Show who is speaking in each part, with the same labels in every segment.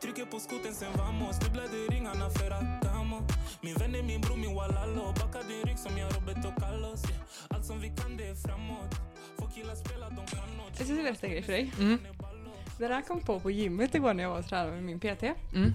Speaker 1: Tio på skoten sen vamos Dubblade ringarna för att damo Min vän är min bror, min walalo Backa din rygg som jag Roberto Carlos yeah. Allt som vi kan det är framåt Få killar spela, de kan nåt
Speaker 2: Jag ska säga nästa grej för dig.
Speaker 3: Mm.
Speaker 2: Den här kom på på gymmet igår när jag var och tränade med min PT.
Speaker 3: Mm.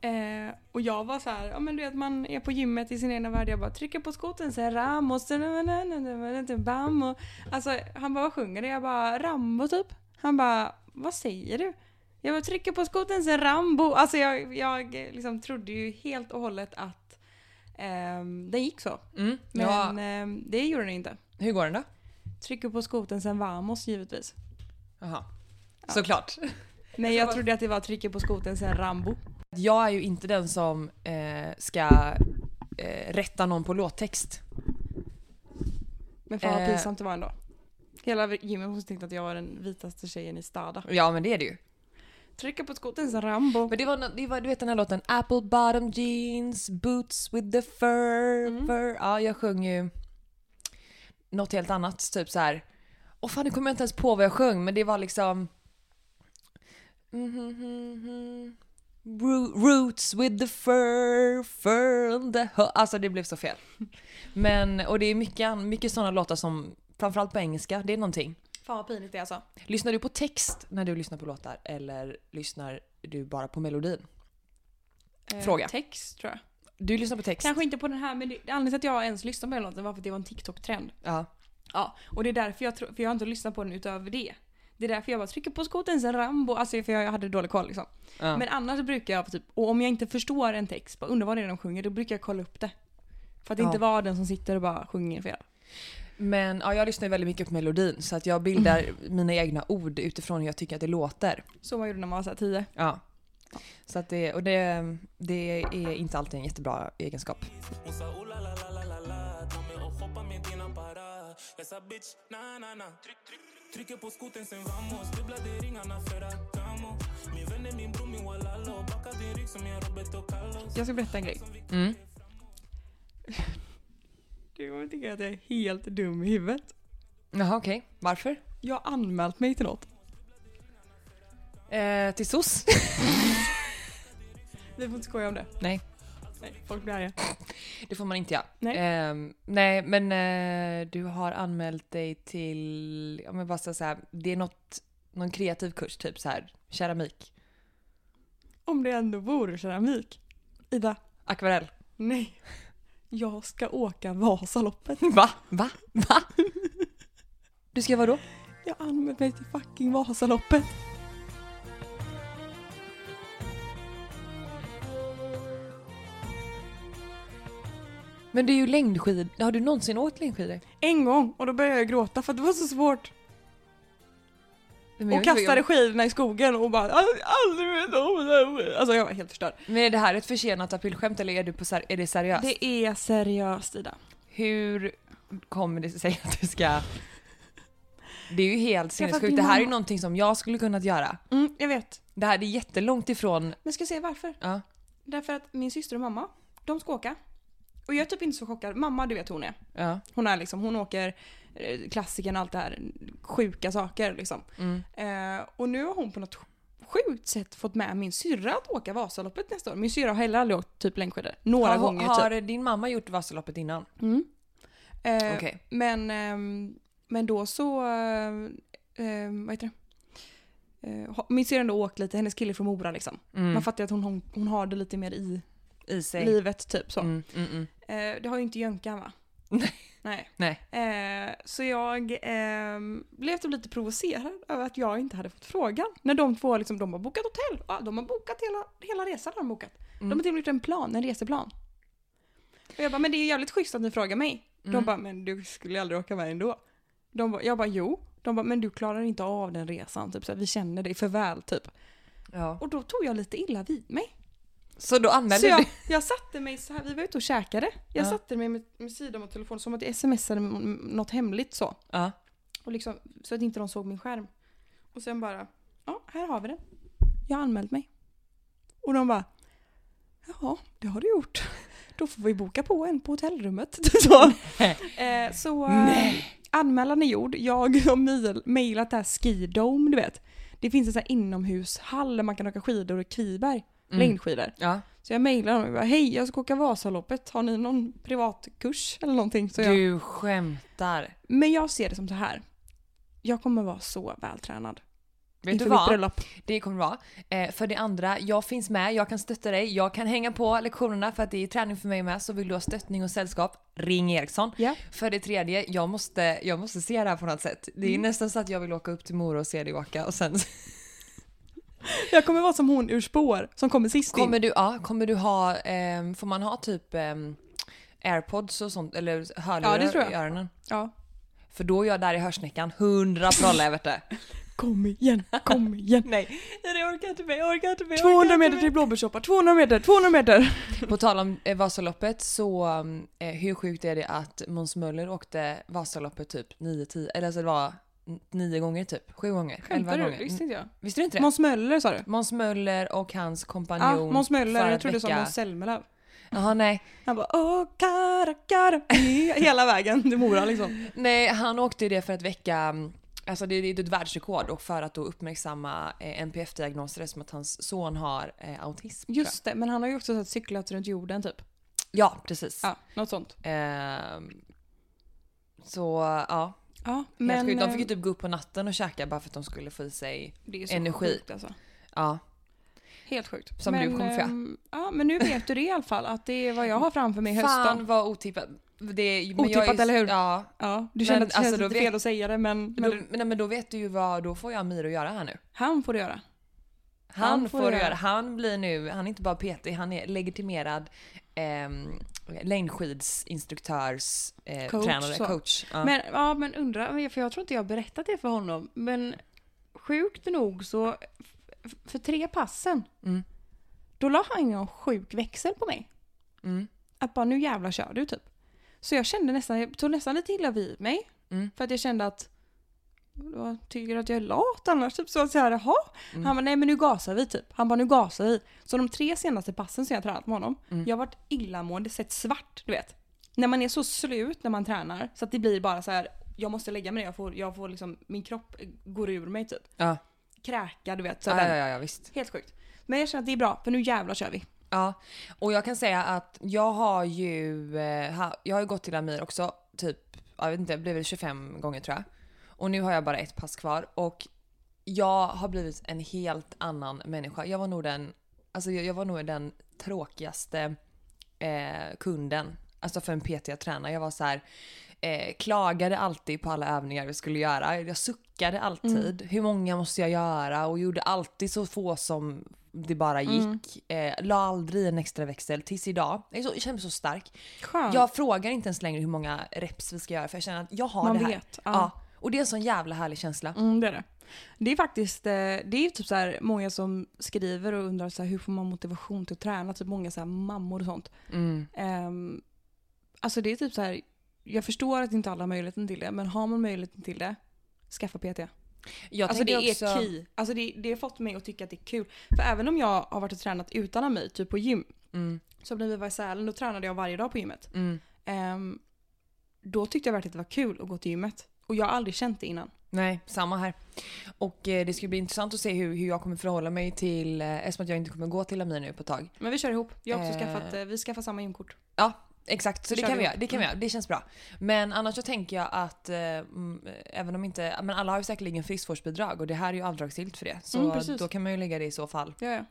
Speaker 2: Eh, och jag var så här, ja men du vet man är på gymmet i sin egna värld. Jag bara trycker på skoten så här Ramos, da, da, da, da, da, da, da, bam. Och, alltså han bara vad sjunger du? Jag bara Rambo typ. Han bara vad säger du? Jag bara trycker på skoten så här Rambo. Alltså jag, jag eh, liksom trodde ju helt och hållet att ehm, den gick så.
Speaker 3: Mm.
Speaker 2: Men
Speaker 3: Ja,
Speaker 2: ehm, det gjorde den inte.
Speaker 3: hur går den då?
Speaker 2: Trycker på skoten sen Vamos givetvis.
Speaker 3: Jaha.
Speaker 2: Ja.
Speaker 3: Såklart.
Speaker 2: Men jag trodde att det var trycker på skoten sen Rambo.
Speaker 3: Jag är ju inte den som eh, ska eh, rätta någon på låttext.
Speaker 2: Men fan vad
Speaker 3: Eh.
Speaker 2: pinsamt det var ändå. Hela gymmet måste tänkt att jag var den vitaste tjejen i Stada.
Speaker 3: Ja men det är det ju.
Speaker 2: Trycka på skoten som Rambo.
Speaker 3: Men det var, nå- det var du vet den här låten Apple bottom jeans, boots with the fur. fur. Ja, jag sjöng ju något helt annat. Typ så här. Åh fan, nu kommer jag inte ens på vad jag sjöng, men det var liksom... Mhm. Ro- Roots with the fur, fur and the ho- Alltså det blev så fel. Men, och det är mycket, an- mycket sådana låtar som, framförallt på engelska, det är någonting.
Speaker 2: Fan vad pinigt det är alltså.
Speaker 3: Lyssnar du på text när du lyssnar på låtar eller lyssnar du bara på melodin?
Speaker 2: Eh,
Speaker 3: Fråga.
Speaker 2: Text tror jag.
Speaker 3: Du lyssnar på text?
Speaker 2: Kanske inte på den här men det, anledningen till att jag ens lyssnade på den låten var för att det var en TikTok-trend.
Speaker 3: Ja.
Speaker 2: Ja. Och det är därför jag tror, för jag har inte lyssnat på den utöver det. Det är därför jag bara trycker på skoten sen Rambo. Alltså för jag hade dålig koll liksom.
Speaker 3: ja.
Speaker 2: Men annars brukar jag typ, och om jag inte förstår en text, bara undrar vad det är de sjunger, då brukar jag kolla upp det. För att
Speaker 3: Ja.
Speaker 2: inte vara den som sitter och bara sjunger fel.
Speaker 3: Men ja, jag lyssnar ju väldigt mycket på melodin så att jag bildar mina egna ord utifrån hur jag tycker att det låter.
Speaker 2: Så man gjorde när man var såhär 10.
Speaker 3: Ja. Så att det, och det, det är inte alltid en jättebra egenskap.
Speaker 1: Hon sa oh la la la la la la Ta mig och shoppa med din apparat Jag sa bitch, na na na Tryck, tryck, tryck. Trycker på skoten sen vamos Dubblade ringarna för att damo Min vän är min bror, min walalo Backa din rygg som jag Roberto Carlos
Speaker 2: Jag ska berätta en grej.
Speaker 3: Mm.
Speaker 2: Du kommer tycka att jag är helt dum i huvudet.
Speaker 3: Jaha okej, varför?
Speaker 2: Jag har anmält mig till något.
Speaker 3: Eh, till SOS?
Speaker 2: Vi får inte skoja om det.
Speaker 3: nej,
Speaker 2: Nej, folk blir arga.
Speaker 3: det får man inte göra.
Speaker 2: Nej.
Speaker 3: Ehm, nej men eh, du har anmält dig till, ja men bara så här, det är något, någon kreativ kurs typ så här, keramik,
Speaker 2: Om det ändå vore keramik. Ida,
Speaker 3: akvarell.
Speaker 2: nej. Jag ska åka Vasaloppet.
Speaker 3: Va? Va? Va? Du ska vara då?
Speaker 2: Jag har anmält mig till fucking Vasaloppet.
Speaker 3: Men det är ju längdskid. Har du någonsin åkt längdskidor?
Speaker 2: En gång och då började jag gråta för att det var så svårt.
Speaker 3: Men
Speaker 2: Och kastade skidorna i skogen och bara "Aldrig- aldrig mer om det här." Alltså jag var helt förstörd.
Speaker 3: Men är det här ett försenat aprilskämt eller är, du på så här, är det seriöst?
Speaker 2: Det är seriöst Ida.
Speaker 3: Hur kommer det sig att du ska... Det är ju helt
Speaker 2: Skaffa
Speaker 3: sinnessjukt.
Speaker 2: din
Speaker 3: Det här är ju
Speaker 2: mamma.
Speaker 3: någonting som jag skulle kunnat göra.
Speaker 2: Mm, jag vet.
Speaker 3: Det här det är jättelångt ifrån...
Speaker 2: Men ska jag säga varför?
Speaker 3: Ja.
Speaker 2: Därför att min syster och mamma, de ska åka. Och jag är typ inte så chockad. Mamma, du vet hon är.
Speaker 3: ja.
Speaker 2: Hon är liksom, hon åker eh, klassiken allt det här sjuka saker liksom.
Speaker 3: Mm.
Speaker 2: Eh, och nu har hon på något sjukt sätt fått med min syrra att åka Vasaloppet nästa år. Min syrra har heller aldrig åkt typ längdskidor. Några
Speaker 3: Har,
Speaker 2: gånger
Speaker 3: har
Speaker 2: typ.
Speaker 3: din mamma gjort Vasaloppet innan?
Speaker 2: Mm. Eh,
Speaker 3: Okej.
Speaker 2: men, ehm, men då så, eh, eh, vad heter det? Eh, ha- min syrra har ändå åkt lite, hennes kille är från Mora liksom.
Speaker 3: Mm.
Speaker 2: Man fattar ju att hon, hon, hon har det lite mer i
Speaker 3: I sig.
Speaker 2: livet typ så.
Speaker 3: Mm, mm, mm.
Speaker 2: Eh, det har ju inte Jönkan va?
Speaker 3: Nej.
Speaker 2: Nej.
Speaker 3: Nej.
Speaker 2: Eh, så jag eh, blev typ lite provocerad över att jag inte hade fått frågan. När de två liksom, de har bokat hotell. Ja, de har bokat hela, hela resan. Har de, bokat.
Speaker 3: Mm.
Speaker 2: de har till och med gjort en plan, en reseplan. Och jag bara, men det är jävligt schysst att ni frågar mig.
Speaker 3: Mm.
Speaker 2: De bara, men du skulle aldrig åka med ändå. De bara, jag bara, jo. De bara, men du klarar inte av den resan. Typ, så här, vi känner dig för väl typ.
Speaker 3: Ja.
Speaker 2: Och då tog jag lite illa vid mig.
Speaker 3: Så då anmälde
Speaker 2: Så jag,
Speaker 3: du?
Speaker 2: jag satte mig så här, vi var ute och käkade. Jag
Speaker 3: Ja.
Speaker 2: satte mig med, med sidan mot telefonen som att jag smsade m- m- något hemligt så.
Speaker 3: Ja.
Speaker 2: Och liksom, så att inte de såg min skärm. Och sen bara, ja här har vi den. Jag har anmält mig. Och de bara, jaha det har du gjort. Då får vi boka på en på hotellrummet. så eh, så eh, anmälan är gjord. Jag har mejl- mejlat det här Skidome du vet. Det finns en sån här inomhushall där man kan åka skidor och kviberg.
Speaker 3: Mm.
Speaker 2: Längdskidor.
Speaker 3: Ja.
Speaker 2: Så jag mejlade honom och bara hej jag ska åka Vasaloppet, har ni någon privatkurs eller någonting? Så jag,
Speaker 3: Du skämtar.
Speaker 2: men jag ser det som så här. Jag kommer vara så vältränad
Speaker 3: Vet
Speaker 2: inför
Speaker 3: du
Speaker 2: mitt
Speaker 3: vad?
Speaker 2: bröllop.
Speaker 3: Det kommer vara. Eh, för det andra, jag finns med, jag kan stötta dig, jag kan hänga på lektionerna för att det är träning för mig med. Så vill du ha stöttning och sällskap, ring Eriksson.
Speaker 2: Ja.
Speaker 3: För det tredje, jag måste, jag måste se det här på något sätt. Det är nästan så att jag vill åka upp till Mora och se dig åka och sen
Speaker 2: Jag kommer vara som hon ur spår som kommer sist in.
Speaker 3: kommer du, ja, kommer du ha, ehm, får man ha typ ehm, airpods och sånt eller hörlurar
Speaker 2: Ja, det tror jag.
Speaker 3: i öronen?
Speaker 2: Ja.
Speaker 3: För då är jag där i hörsnäckan, hundra prolla jag vet det.
Speaker 2: Kom igen, kom igen.
Speaker 3: Nej, jag orkar inte med, jag orkar inte med.
Speaker 2: 200 meter till blåbärssoppa, 200 meter, 200 meter.
Speaker 3: På tal om eh, Vasaloppet så, eh, hur sjukt är det att Måns Möller åkte Vasaloppet typ 9-10, eller alltså det var n- nio gånger typ, sju gånger, elva
Speaker 2: Skämtar du?
Speaker 3: gånger.
Speaker 2: Visste inte jag.
Speaker 3: Visste du inte det?
Speaker 2: Måns Möller sa du?
Speaker 3: Måns Möller och hans kompanjon
Speaker 2: Ja, Måns Möller.
Speaker 3: för
Speaker 2: Jag
Speaker 3: att
Speaker 2: trodde du sa
Speaker 3: väcka-
Speaker 2: Måns Zelmerlöw.
Speaker 3: Jaha, nej.
Speaker 2: Han bara åh kara kara hela vägen till Mora liksom.
Speaker 3: nej, han åkte ju det för att väcka, mm, alltså det, det är ett världsrekord och för att då uppmärksamma eh, NPF-diagnoser som att hans son har eh, autism. tror
Speaker 2: Just det, men han har ju också så här cyklat runt jorden typ.
Speaker 3: jag. Ja, precis.
Speaker 2: Ja, något sånt.
Speaker 3: Ehm, så ja,
Speaker 2: Ja,
Speaker 3: Men,
Speaker 2: men
Speaker 3: sjukt. De
Speaker 2: eh,
Speaker 3: fick ju typ gå upp på natten och käka bara för att de skulle få i sig,
Speaker 2: det är ju så
Speaker 3: energi.
Speaker 2: sjukt alltså.
Speaker 3: ja.
Speaker 2: Helt sjukt.
Speaker 3: Som du kommer få.
Speaker 2: ehm, Ja, men nu vet du det i alla fall att det är vad jag har framför mig i
Speaker 3: Fan
Speaker 2: hösten.
Speaker 3: vad otippat. Det, men jag
Speaker 2: Otippat,
Speaker 3: är,
Speaker 2: eller hur?
Speaker 3: Ja.
Speaker 2: Ja, du
Speaker 3: Men
Speaker 2: kände att det
Speaker 3: alltså,
Speaker 2: kändes
Speaker 3: då
Speaker 2: lite
Speaker 3: vet-
Speaker 2: fel att säga det men,
Speaker 3: Men,
Speaker 2: men
Speaker 3: då, nej, men då vet du ju vad, då får jag Amir att göra här nu.
Speaker 2: han får det göra.
Speaker 3: Han,
Speaker 2: Han får
Speaker 3: får, göra.
Speaker 2: göra.
Speaker 3: han blir nu, han är inte bara PT, han är legitimerad eh, längdskidsinstruktörs eh,
Speaker 2: Coach,
Speaker 3: tränare,
Speaker 2: så.
Speaker 3: coach. Ja.
Speaker 2: Men, ja, men undra, för jag tror inte jag har berättat det för honom. Men sjukt nog så, f- för tre passen,
Speaker 3: Mm.
Speaker 2: då la han en sjuk växel på mig.
Speaker 3: Mm.
Speaker 2: Att bara nu jävla kör du typ. Så jag kände nästan, jag tog nästan lite illa vid mig.
Speaker 3: Mm.
Speaker 2: För att jag kände att, jag tycker att jag är lat annars? Typ så att säga, jaha?
Speaker 3: Mm.
Speaker 2: Han bara, nej men nu gasar vi typ. Han bara, nu gasar vi. Så de tre senaste passen som jag har tränat med honom,
Speaker 3: Mm.
Speaker 2: jag har varit illamående, sett svart, du vet. När man är så slut när man tränar så att det blir bara så här. jag måste lägga mig ner, jag får, jag får liksom, min kropp går ur mig typ.
Speaker 3: Ja.
Speaker 2: Kräka, du vet. Så
Speaker 3: Ja,
Speaker 2: där.
Speaker 3: ja, ja, ja, visst.
Speaker 2: Helt sjukt. Men jag känner att det är bra, för nu jävlar kör vi.
Speaker 3: Ja. Och jag kan säga att jag har ju, eh, ha- jag har ju gått till Amir också, typ, jag vet inte, det blev väl 25 gånger tror jag. Och nu har jag bara ett pass kvar och jag har blivit en helt annan människa. Jag var nog den, alltså jag, jag var nog den tråkigaste eh, kunden. Alltså för en PT jag tränar. Jag var så här, eh, klagade alltid på alla övningar vi skulle göra. Jag suckade alltid. Hur många måste jag göra? Och gjorde alltid så få som det bara
Speaker 2: Mm.
Speaker 3: gick. Eh, la aldrig en extra växel tills idag. Jag, är så, jag känner mig så stark.
Speaker 2: Skönt.
Speaker 3: Jag frågar inte ens längre hur många reps vi ska göra för jag känner att jag har
Speaker 2: Man
Speaker 3: det här.
Speaker 2: vet, ja.
Speaker 3: Ja. Och det är en sån jävla härlig känsla.
Speaker 2: Mm, det är det. Det är faktiskt, eh, det är ju typ så här många som skriver och undrar så här, hur får man motivation till att träna? Typ många så här mammor och sånt.
Speaker 3: Mm.
Speaker 2: Ehm, alltså det är typ så här, jag förstår att inte alla har möjligheten till det, men har man möjligheten till det, skaffa PT.
Speaker 3: Jag
Speaker 2: Alltså det
Speaker 3: tänker
Speaker 2: är
Speaker 3: också-
Speaker 2: key. Alltså det, det har fått mig att tycka att det är kul. För även om jag har varit och tränat utan Amir, typ på gym.
Speaker 3: Mm.
Speaker 2: Så när vi var i Sälen, då tränade jag varje dag på gymmet.
Speaker 3: Mm.
Speaker 2: Ehm, då tyckte jag verkligen att det var kul att gå till gymmet. Och jag har aldrig känt det innan.
Speaker 3: Nej, samma här. Och eh, det ska bli intressant att se hur, hur jag kommer förhålla mig till, eh, eftersom att jag inte kommer gå till Amir nu på ett tag.
Speaker 2: Men vi kör ihop. Jag har också
Speaker 3: Eh.
Speaker 2: skaffat, eh, vi skaffar samma gymkort.
Speaker 3: Ja, exakt. Så
Speaker 2: Då
Speaker 3: det
Speaker 2: kör Mm.
Speaker 3: kan,
Speaker 2: vi
Speaker 3: vi
Speaker 2: ihop.
Speaker 3: göra. det kan vi göra. Det känns bra. Men annars så tänker jag att, eh, mm, även om inte, men alla har ju säkerligen friskvårdsbidrag och det här är ju avdragsgillt för det. Så
Speaker 2: Mm, precis.
Speaker 3: då kan man ju lägga det i så fall.
Speaker 2: Ja, ja.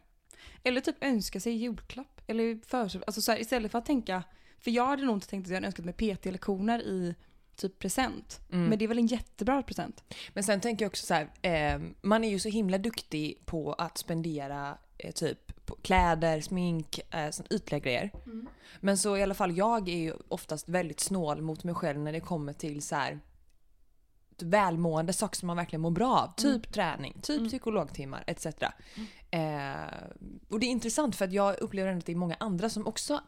Speaker 2: Eller typ önska sig julklapp. Eller för, alltså så här, istället för att tänka, för jag hade nog inte tänkt att jag hade önskat mig PT-lektioner i typ present. Men det är väl en jättebra present?
Speaker 3: Men sen tänker jag också så här, eh, man är ju så himla duktig på att spendera eh, typ på kläder, smink, eh, sån ytliga grejer. Men så i alla fall jag är ju oftast väldigt snål mot mig själv när det kommer till så här ett välmående, saker som man verkligen mår bra av. Typ träning, typ psykologtimmar etc. Eh, och det är intressant för att jag upplever ändå att det är många andra som också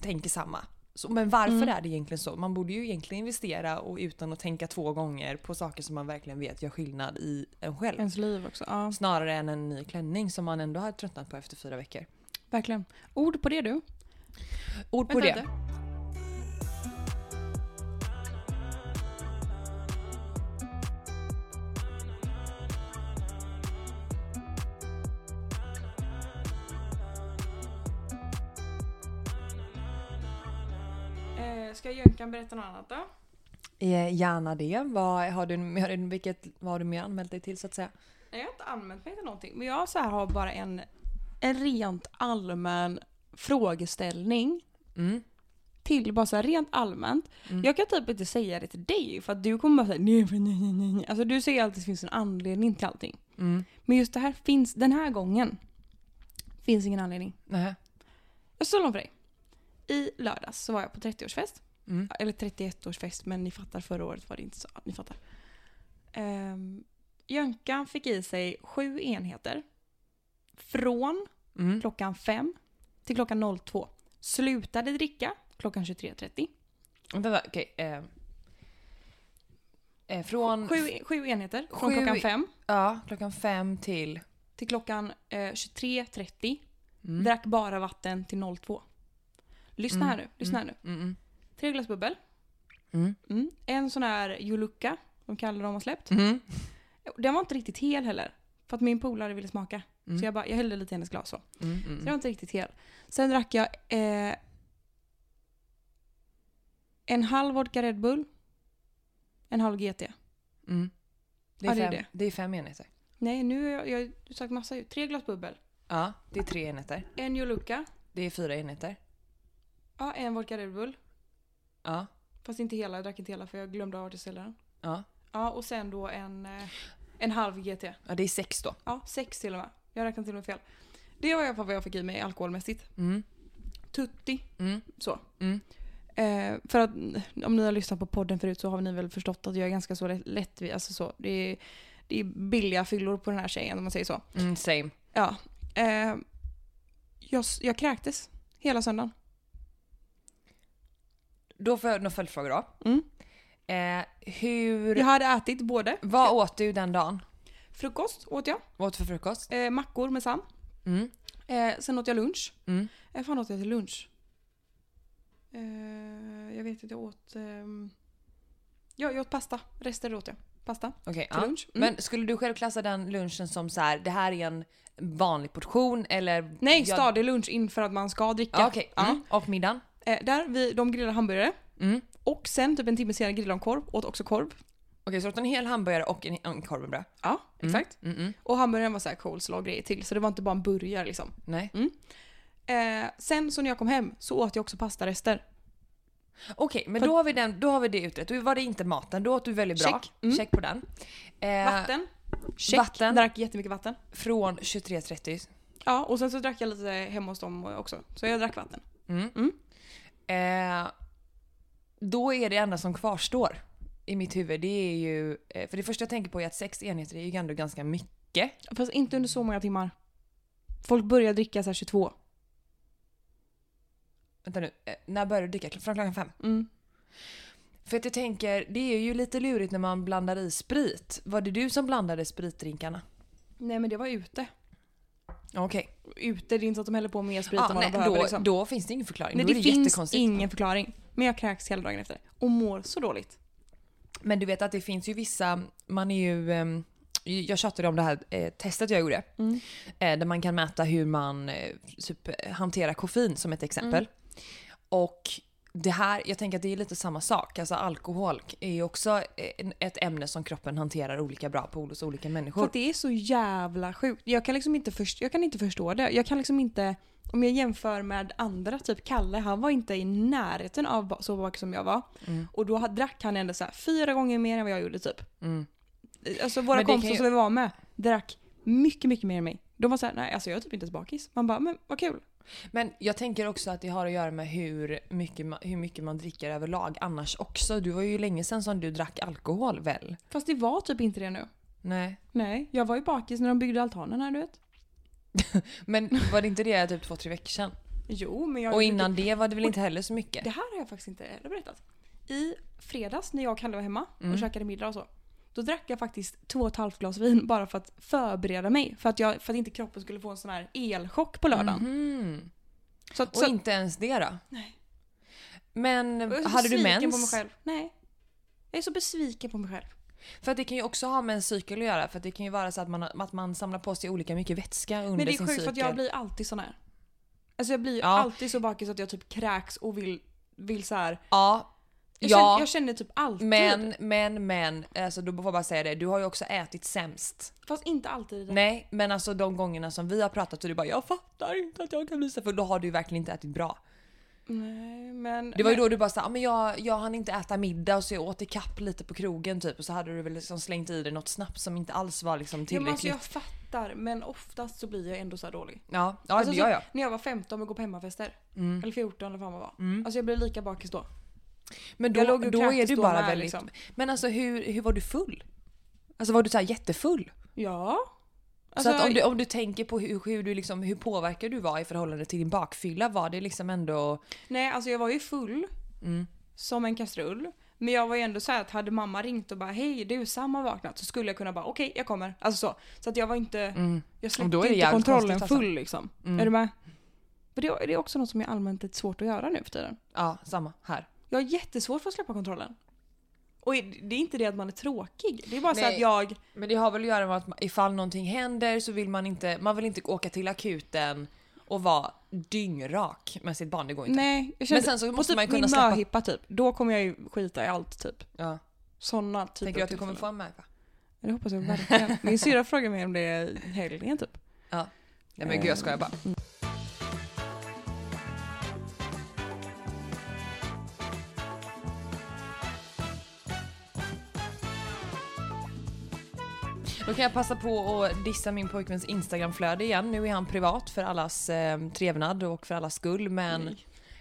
Speaker 3: tänker samma. Så, men varför är det egentligen så? Man borde ju egentligen investera och utan att tänka två gånger på saker som man verkligen vet gör skillnad i en själv.
Speaker 2: Ens liv också. Ja,
Speaker 3: Snarare än en ny klänning som man ändå har tröttnat på efter fyra veckor.
Speaker 2: verkligen. Ord på det du.
Speaker 3: Ord på
Speaker 2: Vänta
Speaker 3: det.
Speaker 2: lite. Eh, ska Jönkan berätta något annat då?
Speaker 3: Eh, Gärna det. Vad har, du, har du, vilket, vad har du mer anmält dig till så att säga?
Speaker 2: Nej, jag har inte använt mig till någonting. Men jag så här har bara en, en rent allmän frågeställning.
Speaker 3: Mm.
Speaker 2: Till bara så här rent allmänt. Jag kan typ inte säga det till dig för att du kommer bara säga nej, nej, nej, nej, nej. Alltså du säger alltid att det finns en anledning till allting.
Speaker 3: Mm.
Speaker 2: Men just det här finns, den här gången finns ingen anledning.
Speaker 3: Nähä.
Speaker 2: Jag står långt för dig. I lördags så var jag på 30-årsfest.
Speaker 3: Mm.
Speaker 2: Eller 31-årsfest men ni fattar förra året var det inte så. Ni fattar. Um, Jönkan fick i sig sju enheter. Från
Speaker 3: Mm.
Speaker 2: klockan 5 till klockan 02. Slutade dricka klockan 23.30.
Speaker 3: Vänta, vänta, okej. eh. Eh, från
Speaker 2: Sju, sju enheter från
Speaker 3: Sju-
Speaker 2: klockan 5
Speaker 3: ja, klockan fem till...
Speaker 2: till klockan eh, 23.30.
Speaker 3: Mm.
Speaker 2: Drack bara vatten till 02. Lyssna här nu. Lyssna här nu.
Speaker 3: Mm, mm.
Speaker 2: Tre glas bubbel.
Speaker 3: Mm.
Speaker 2: Mm. En sån här Juluka, de kallar dem har släppt.
Speaker 3: Mm.
Speaker 2: Den var inte riktigt hel heller. För att min polare ville smaka.
Speaker 3: Mm.
Speaker 2: Så jag, bara, jag hällde lite i hennes glas så. Så
Speaker 3: Mm.
Speaker 2: den var
Speaker 3: Mm.
Speaker 2: inte riktigt hel. Sen drack jag eh, en halv vodka Red Bull. En halv GT.
Speaker 3: Mm. Det,
Speaker 2: Ja,
Speaker 3: är
Speaker 2: det är
Speaker 3: fem,
Speaker 2: det.
Speaker 3: det är fem enheter.
Speaker 2: Nej, nu har jag, jag har sagt massa ut. Tre glas bubbel.
Speaker 3: Ja, det är tre enheter.
Speaker 2: En Juluka.
Speaker 3: Det är fyra enheter.
Speaker 2: Ja, en vodka Red Bull.
Speaker 3: Ja,
Speaker 2: Fast inte hela, jag drack inte hela för jag glömde av den.
Speaker 3: ja.
Speaker 2: Ja, och sen då en, eh, en halv GT.
Speaker 3: ja det är sex då.
Speaker 2: Ja, sex till och med. Jag räknade till och med fel. Det var i alla fall vad jag fick i mig alkoholmässigt.
Speaker 3: Mm.
Speaker 2: Tutti.
Speaker 3: Mm.
Speaker 2: Så.
Speaker 3: Mm.
Speaker 2: Eh, för att om ni har lyssnat på podden förut så har ni väl förstått att jag är ganska så lätt, lätt alltså så. Det är, det är billiga fyllor på den här tjejen om man säger så.
Speaker 3: Mm, same.
Speaker 2: Ja. Eh, jag, s- jag kräktes hela söndagen.
Speaker 3: Då får jag några följdfrågor då.
Speaker 2: Mm.
Speaker 3: Eh, hur...
Speaker 2: Jag hade ätit både
Speaker 3: Vad åt du den dagen?
Speaker 2: frukost åt jag,
Speaker 3: Vad åt du för frukost?
Speaker 2: eh, mackor med Sam.
Speaker 3: Mm.
Speaker 2: Eh, sen åt jag lunch.
Speaker 3: Mm.
Speaker 2: Eh, fan åt jag till lunch? Eh, jag vet att jag åt... ehm, ja, jag åt pasta. Rester åt jag. Pasta till
Speaker 3: Okej, ja.
Speaker 2: lunch. Mm.
Speaker 3: Men skulle du själv klassa den lunchen som så här, det här är en vanlig portion eller?
Speaker 2: Nej,
Speaker 3: jag-
Speaker 2: stadig lunch inför att man ska dricka.
Speaker 3: Ja, Okej,
Speaker 2: Ja.
Speaker 3: mm. och middagen?
Speaker 2: Eh, där, vi, de grillade hamburgare.
Speaker 3: Mm. Okej,
Speaker 2: Och sen typ en timme senare grillade de korv. Åt också korv.
Speaker 3: så åt en hel hamburgare och en, en korv med bröd?
Speaker 2: Ja, exakt.
Speaker 3: Mm -mm.
Speaker 2: Och hamburgaren var såhär coleslaw och grejer till. Så det var inte bara en burgare liksom.
Speaker 3: Nej.
Speaker 2: Eh, sen så när jag kom hem så åt jag också pastarester.
Speaker 3: Okej, men
Speaker 2: För-
Speaker 3: då, har vi den, då har vi det utrett. Då var det inte maten, då åt du väldigt bra.
Speaker 2: Check. Mm.
Speaker 3: Check på den. Eh,
Speaker 2: Vatten. Check.
Speaker 3: vatten.
Speaker 2: Drack jättemycket vatten.
Speaker 3: Från 23.30.
Speaker 2: Ja, och sen så drack jag lite hemma hos dem också. Så jag drack vatten.
Speaker 3: Mm.
Speaker 2: Mm.
Speaker 3: Eh, då är det enda som kvarstår i mitt huvud, det är ju... eh, För det första jag tänker på är att sex enheter är ju ändå ganska mycket.
Speaker 2: Fast inte under så många timmar. Folk börjar dricka så här 22.
Speaker 3: Vänta nu, eh, när började du dricka? Från klockan fem?
Speaker 2: Mm.
Speaker 3: För att jag tänker, det är ju lite lurigt när man blandar i sprit. Var det du som blandade spritdrinkarna?
Speaker 2: Nej men det var ute.
Speaker 3: Okej.
Speaker 2: Ute, det är inte så att de häller på mer sprit
Speaker 3: Ah,
Speaker 2: än vad
Speaker 3: nej,
Speaker 2: de behöver.
Speaker 3: då,
Speaker 2: liksom.
Speaker 3: då finns det ingen förklaring.
Speaker 2: nej
Speaker 3: då
Speaker 2: det,
Speaker 3: är det
Speaker 2: finns
Speaker 3: jättekonstigt.
Speaker 2: ingen förklaring. Men jag kräks hela dagen efter. Och mår så dåligt.
Speaker 3: Men du vet att det finns ju vissa, man är ju, ehm, jag tjatade om det här eh, testet jag gjorde.
Speaker 2: Mm.
Speaker 3: Eh, där man kan mäta hur man eh, typ, hanterar koffein som ett exempel.
Speaker 2: Mm.
Speaker 3: Och det här, jag tänker att det är lite samma sak. Alltså alkohol är ju också eh, ett ämne som kroppen hanterar olika bra på hos olika människor.
Speaker 2: För att det är så jävla sjukt. Jag kan liksom inte, först- jag kan inte förstå det. Jag kan liksom inte, om jag jämför med andra, typ Kalle, han var inte i närheten av ba- så bakis som jag var. Och då ha- drack han ändå så här fyra gånger mer än vad jag gjorde typ.
Speaker 3: Mm.
Speaker 2: Alltså våra
Speaker 3: Men det kan
Speaker 2: kompisar
Speaker 3: ju-
Speaker 2: som vi var med drack mycket, mycket mer än mig. De var så här, nej alltså jag är typ inte ens bakis. Man bara, men vad kul.
Speaker 3: Men jag tänker också att det har att göra med hur mycket, ma- hur mycket man dricker överlag annars också. Du var ju länge sedan som du drack alkohol väl?
Speaker 2: Fast det var typ inte det nu.
Speaker 3: Nej.
Speaker 2: Nej, jag var ju bakis när de byggde altanen här du vet.
Speaker 3: Men var det inte det typ två, tre veckor sedan?
Speaker 2: Jo, men jag...
Speaker 3: Och innan det var det väl inte heller så mycket?
Speaker 2: Det här har jag faktiskt inte heller berättat. I fredags när jag och Kalle var hemma och
Speaker 3: Mm.
Speaker 2: käkade middag och så. Då drack jag faktiskt två och ett halvt glas vin bara för att förbereda mig. För att, jag, för att inte kroppen skulle få en sån här elchock på lördagen.
Speaker 3: Mhm.
Speaker 2: Så, att,
Speaker 3: Och
Speaker 2: så,
Speaker 3: inte ens det då?
Speaker 2: Nej.
Speaker 3: Men
Speaker 2: jag är så
Speaker 3: hade du
Speaker 2: besviken på mig
Speaker 3: mens?
Speaker 2: själv. Nej. Jag är så besviken på mig själv.
Speaker 3: För att det kan ju också ha med en cykel att göra. För att det kan ju vara så att man, att man samlar på sig olika mycket vätska under
Speaker 2: Men det är
Speaker 3: sin
Speaker 2: sjukt för
Speaker 3: cykel.
Speaker 2: att jag blir alltid sån här. Alltså jag blir
Speaker 3: Ja.
Speaker 2: alltid så bakis att jag typ kräks och vill vill så här.
Speaker 3: Ja.
Speaker 2: Jag,
Speaker 3: ja.
Speaker 2: känner, jag känner typ alltid.
Speaker 3: Men, men, men, alltså då får jag bara säga det, du har ju också ätit sämst.
Speaker 2: Fast inte alltid i det.
Speaker 3: Nej, men alltså de gångerna som vi har pratat och du bara “jag fattar inte att jag kan visa” för då har du ju verkligen inte ätit bra.
Speaker 2: Nej, men.
Speaker 3: Det var ju då du bara sa ah, men jag, jag hann inte äta middag så jag åt ikapp lite på krogen typ och så hade du väl liksom slängt i dig något snabbt som inte alls var liksom
Speaker 2: Ja, men alltså,
Speaker 3: tillräckligt.
Speaker 2: jag fattar men oftast så blir jag ändå så här dålig.
Speaker 3: Ja, ja,
Speaker 2: Alltså,
Speaker 3: alltså, ja, ja.
Speaker 2: Så, när jag var 15 och går på hemmafester.
Speaker 3: Mm.
Speaker 2: Eller 14 eller vad fan man var. Alltså jag blev lika bakis då.
Speaker 3: Men då,
Speaker 2: Jag låg ju
Speaker 3: då
Speaker 2: knappt
Speaker 3: är du
Speaker 2: stå
Speaker 3: bara
Speaker 2: med,
Speaker 3: väldigt...
Speaker 2: liksom.
Speaker 3: Men alltså hur, hur var du full? Alltså var du så här jättefull?
Speaker 2: Ja. Alltså,
Speaker 3: så att om, du, om du tänker på hur, hur, du liksom, hur påverkad du var i förhållande till din bakfylla, var det liksom ändå...
Speaker 2: Nej, alltså jag var ju full.
Speaker 3: Mm.
Speaker 2: Som en kastrull. Men jag var ju ändå så här att hade mamma ringt och bara hej du Sam har vaknat så skulle jag kunna bara okej jag kommer. Alltså så. Så att jag var inte, jag
Speaker 3: Och
Speaker 2: släppte
Speaker 3: Mm. då är det
Speaker 2: inte
Speaker 3: jävligt
Speaker 2: kontrollen
Speaker 3: konstigt, alltså.
Speaker 2: full liksom. Är du med? Men det, det är också något som är allmänt lite svårt att göra nu för tiden.
Speaker 3: Ja, samma här.
Speaker 2: Jag har jättesvårt för att släppa kontrollen. Och det är inte det att man är tråkig. Det är bara så
Speaker 3: Nej.
Speaker 2: att jag,
Speaker 3: Men det har väl att göra med att man- ifall någonting händer så vill man inte, man vill inte åka till akuten och vara dyngrak med sitt barn, det går inte.
Speaker 2: nej. Jag känner,
Speaker 3: Men sen så
Speaker 2: på
Speaker 3: måste
Speaker 2: typ
Speaker 3: man ju kunna
Speaker 2: min
Speaker 3: släppa-
Speaker 2: möhippa typ, då kommer jag ju skita i allt typ.
Speaker 3: Ja.
Speaker 2: Sådana typer
Speaker 3: Tänker du
Speaker 2: av
Speaker 3: att du kommer
Speaker 2: tillfällen.
Speaker 3: få en märka?
Speaker 2: Ja, Det hoppas jag verkligen. Min syrra frågade mig om det i helgen typ.
Speaker 3: Ja. Nej men gud jag skojar bara. Då kan jag passa på att dissa min pojkväns instagramflöde igen. Nu är han privat för allas eh, trevnad och för allas skull men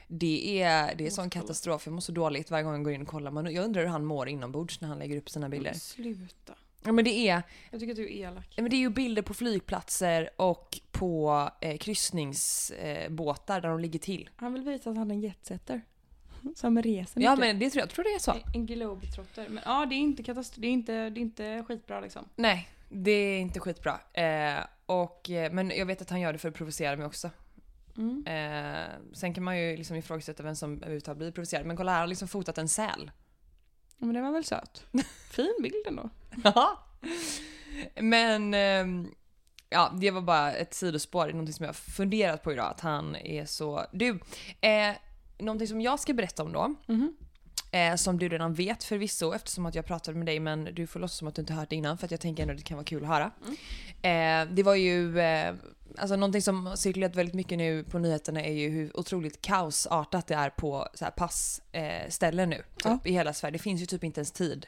Speaker 3: det är, det är sån katastrof. Jag mår så dåligt varje gång jag går in och kollar. Man, jag undrar hur han mår inombords när han lägger upp sina bilder.
Speaker 2: Sluta.
Speaker 3: Ja men det är,
Speaker 2: Jag tycker att du är elak.
Speaker 3: Ja, Men det är ju bilder på flygplatser och på eh, kryssningsbåtar eh, båtar där de ligger till.
Speaker 2: Han vill visa att han är en jetsetter. Som reser
Speaker 3: Ja
Speaker 2: mycket.
Speaker 3: men det tror jag, jag tror det är så.
Speaker 2: En globetrotter. Men ja, det är inte katastrof. Det är inte, det är inte skitbra liksom.
Speaker 3: Nej, det är inte skitbra. Eh, och, eh, men jag vet att han gör det för att provocera mig också.
Speaker 2: Mm.
Speaker 3: Eh, sen kan man ju liksom ifrågasätta vem som överhuvudtaget blir provocerad. Men kolla här, han har liksom fotat en säl.
Speaker 2: Ja, Men det var väl söt. Fin bild ändå.
Speaker 3: Ja. Men ehm, ja, det var bara ett sidospår, någonting som jag har funderat på idag, att han är så... Du, eh, någonting som jag ska berätta om då,
Speaker 2: Mhm.
Speaker 3: eh, som du redan vet förvisso eftersom att jag pratade med dig men du får låtsas som att du inte hört det innan för att jag tänker ändå att det kan vara kul att höra. Eh, det var ju, eh, alltså någonting som har cirkulerat väldigt mycket nu på nyheterna är ju hur otroligt kaosartat det är på så här passställen eh, ställen nu, typ,
Speaker 2: Ja.
Speaker 3: i hela Sverige. Det finns ju typ inte ens tid.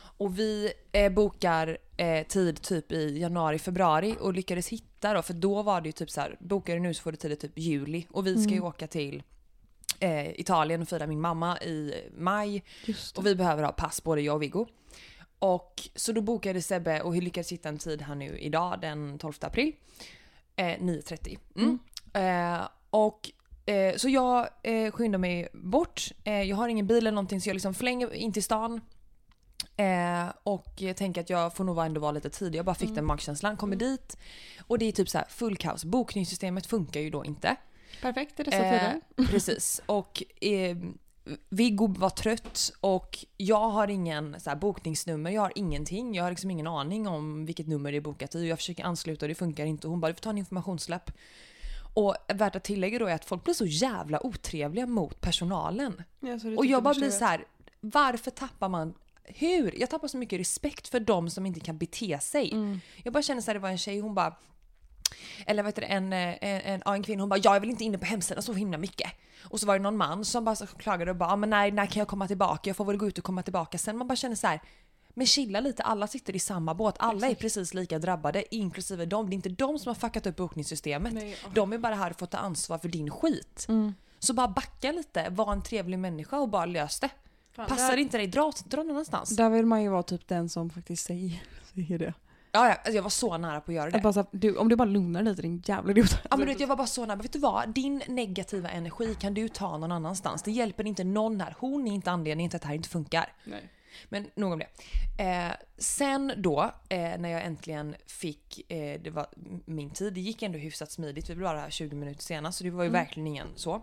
Speaker 3: Och vi eh, bokar eh, tid typ i januari, februari och lyckades hitta då, för då var det ju typ så här, bokar du nu så får du tid i typ juli och vi ska ju åka till eh, Italien och fira min mamma i maj
Speaker 2: Just
Speaker 3: och vi behöver ha pass både jag och Viggo. Och så då bokade Sebbe och lyckades hitta en tid här nu idag den 12 april. Eh, 9.30. Mm. Eh, och eh, så jag eh, skyndar mig bort. Eh, jag har ingen bil eller någonting så jag liksom flänger in till stan. Eh, och jag tänker att jag får nog ändå vara lite tidig. Jag bara fick den magkänslan. Kommer dit och det är typ så här full kaos. Bokningssystemet funkar ju då inte.
Speaker 2: Perfekt i dessa
Speaker 3: Eh,
Speaker 2: tider.
Speaker 3: Precis. Och eh, Viggo var trött och jag har ingen så här, bokningsnummer, jag har ingenting. Jag har liksom ingen aning om vilket nummer det är bokat i. Jag försöker ansluta och det funkar inte. Hon bara du får ta en informationslapp. Och värt att tillägga då är att folk blir så jävla otrevliga mot personalen.
Speaker 2: Ja, så det
Speaker 3: Och
Speaker 2: tycker
Speaker 3: jag bara
Speaker 2: förstår
Speaker 3: blir så här, varför tappar man hur? Jag tappar så mycket respekt för de som inte kan bete sig.
Speaker 2: Mm.
Speaker 3: Jag bara känner så här, det var en tjej, hon bara eller vad heter det, en, eh, en, en, ja, en kvinna, hon bara “jag är väl inte inne på hemsidan så himla mycket”. Och så var det någon man som bara så klagade och bara "Ja, “men när, när kan jag komma tillbaka? Jag får väl gå ut och komma tillbaka sen”. Man bara känner så här. Men chilla lite, alla sitter i samma båt. Alla är precis lika drabbade, inklusive dem. Det är inte de som har fuckat upp bokningssystemet.
Speaker 2: Nej, åh.
Speaker 3: De är bara här för att ta ansvar för din skit. Så bara backa lite, var en trevlig människa och bara lös det.
Speaker 2: Fan,
Speaker 3: Passar
Speaker 2: där-
Speaker 3: inte dig, dra, dra någon annanstans.
Speaker 2: Där vill man ju vara typ den som faktiskt säger, säger det.
Speaker 3: Ja, ja, alltså jag var så nära på att göra det.
Speaker 2: Att bara, så här, du, om du bara lugnar dig lite din jävla idiot.
Speaker 3: Ja, men du vet, jag var bara så nära. Vet du vad? Din negativa energi kan du ta någon annanstans. Det hjälper inte någon här. Hon är inte anledningen till att det här inte funkar.
Speaker 2: Nej.
Speaker 3: Men nog om det. Eh, sen då, eh, när jag äntligen fick, eh, det var m- min tid, det gick ändå hyfsat smidigt. Vi blev bara här 20 minuter sena så det var ju verkligen ingen så.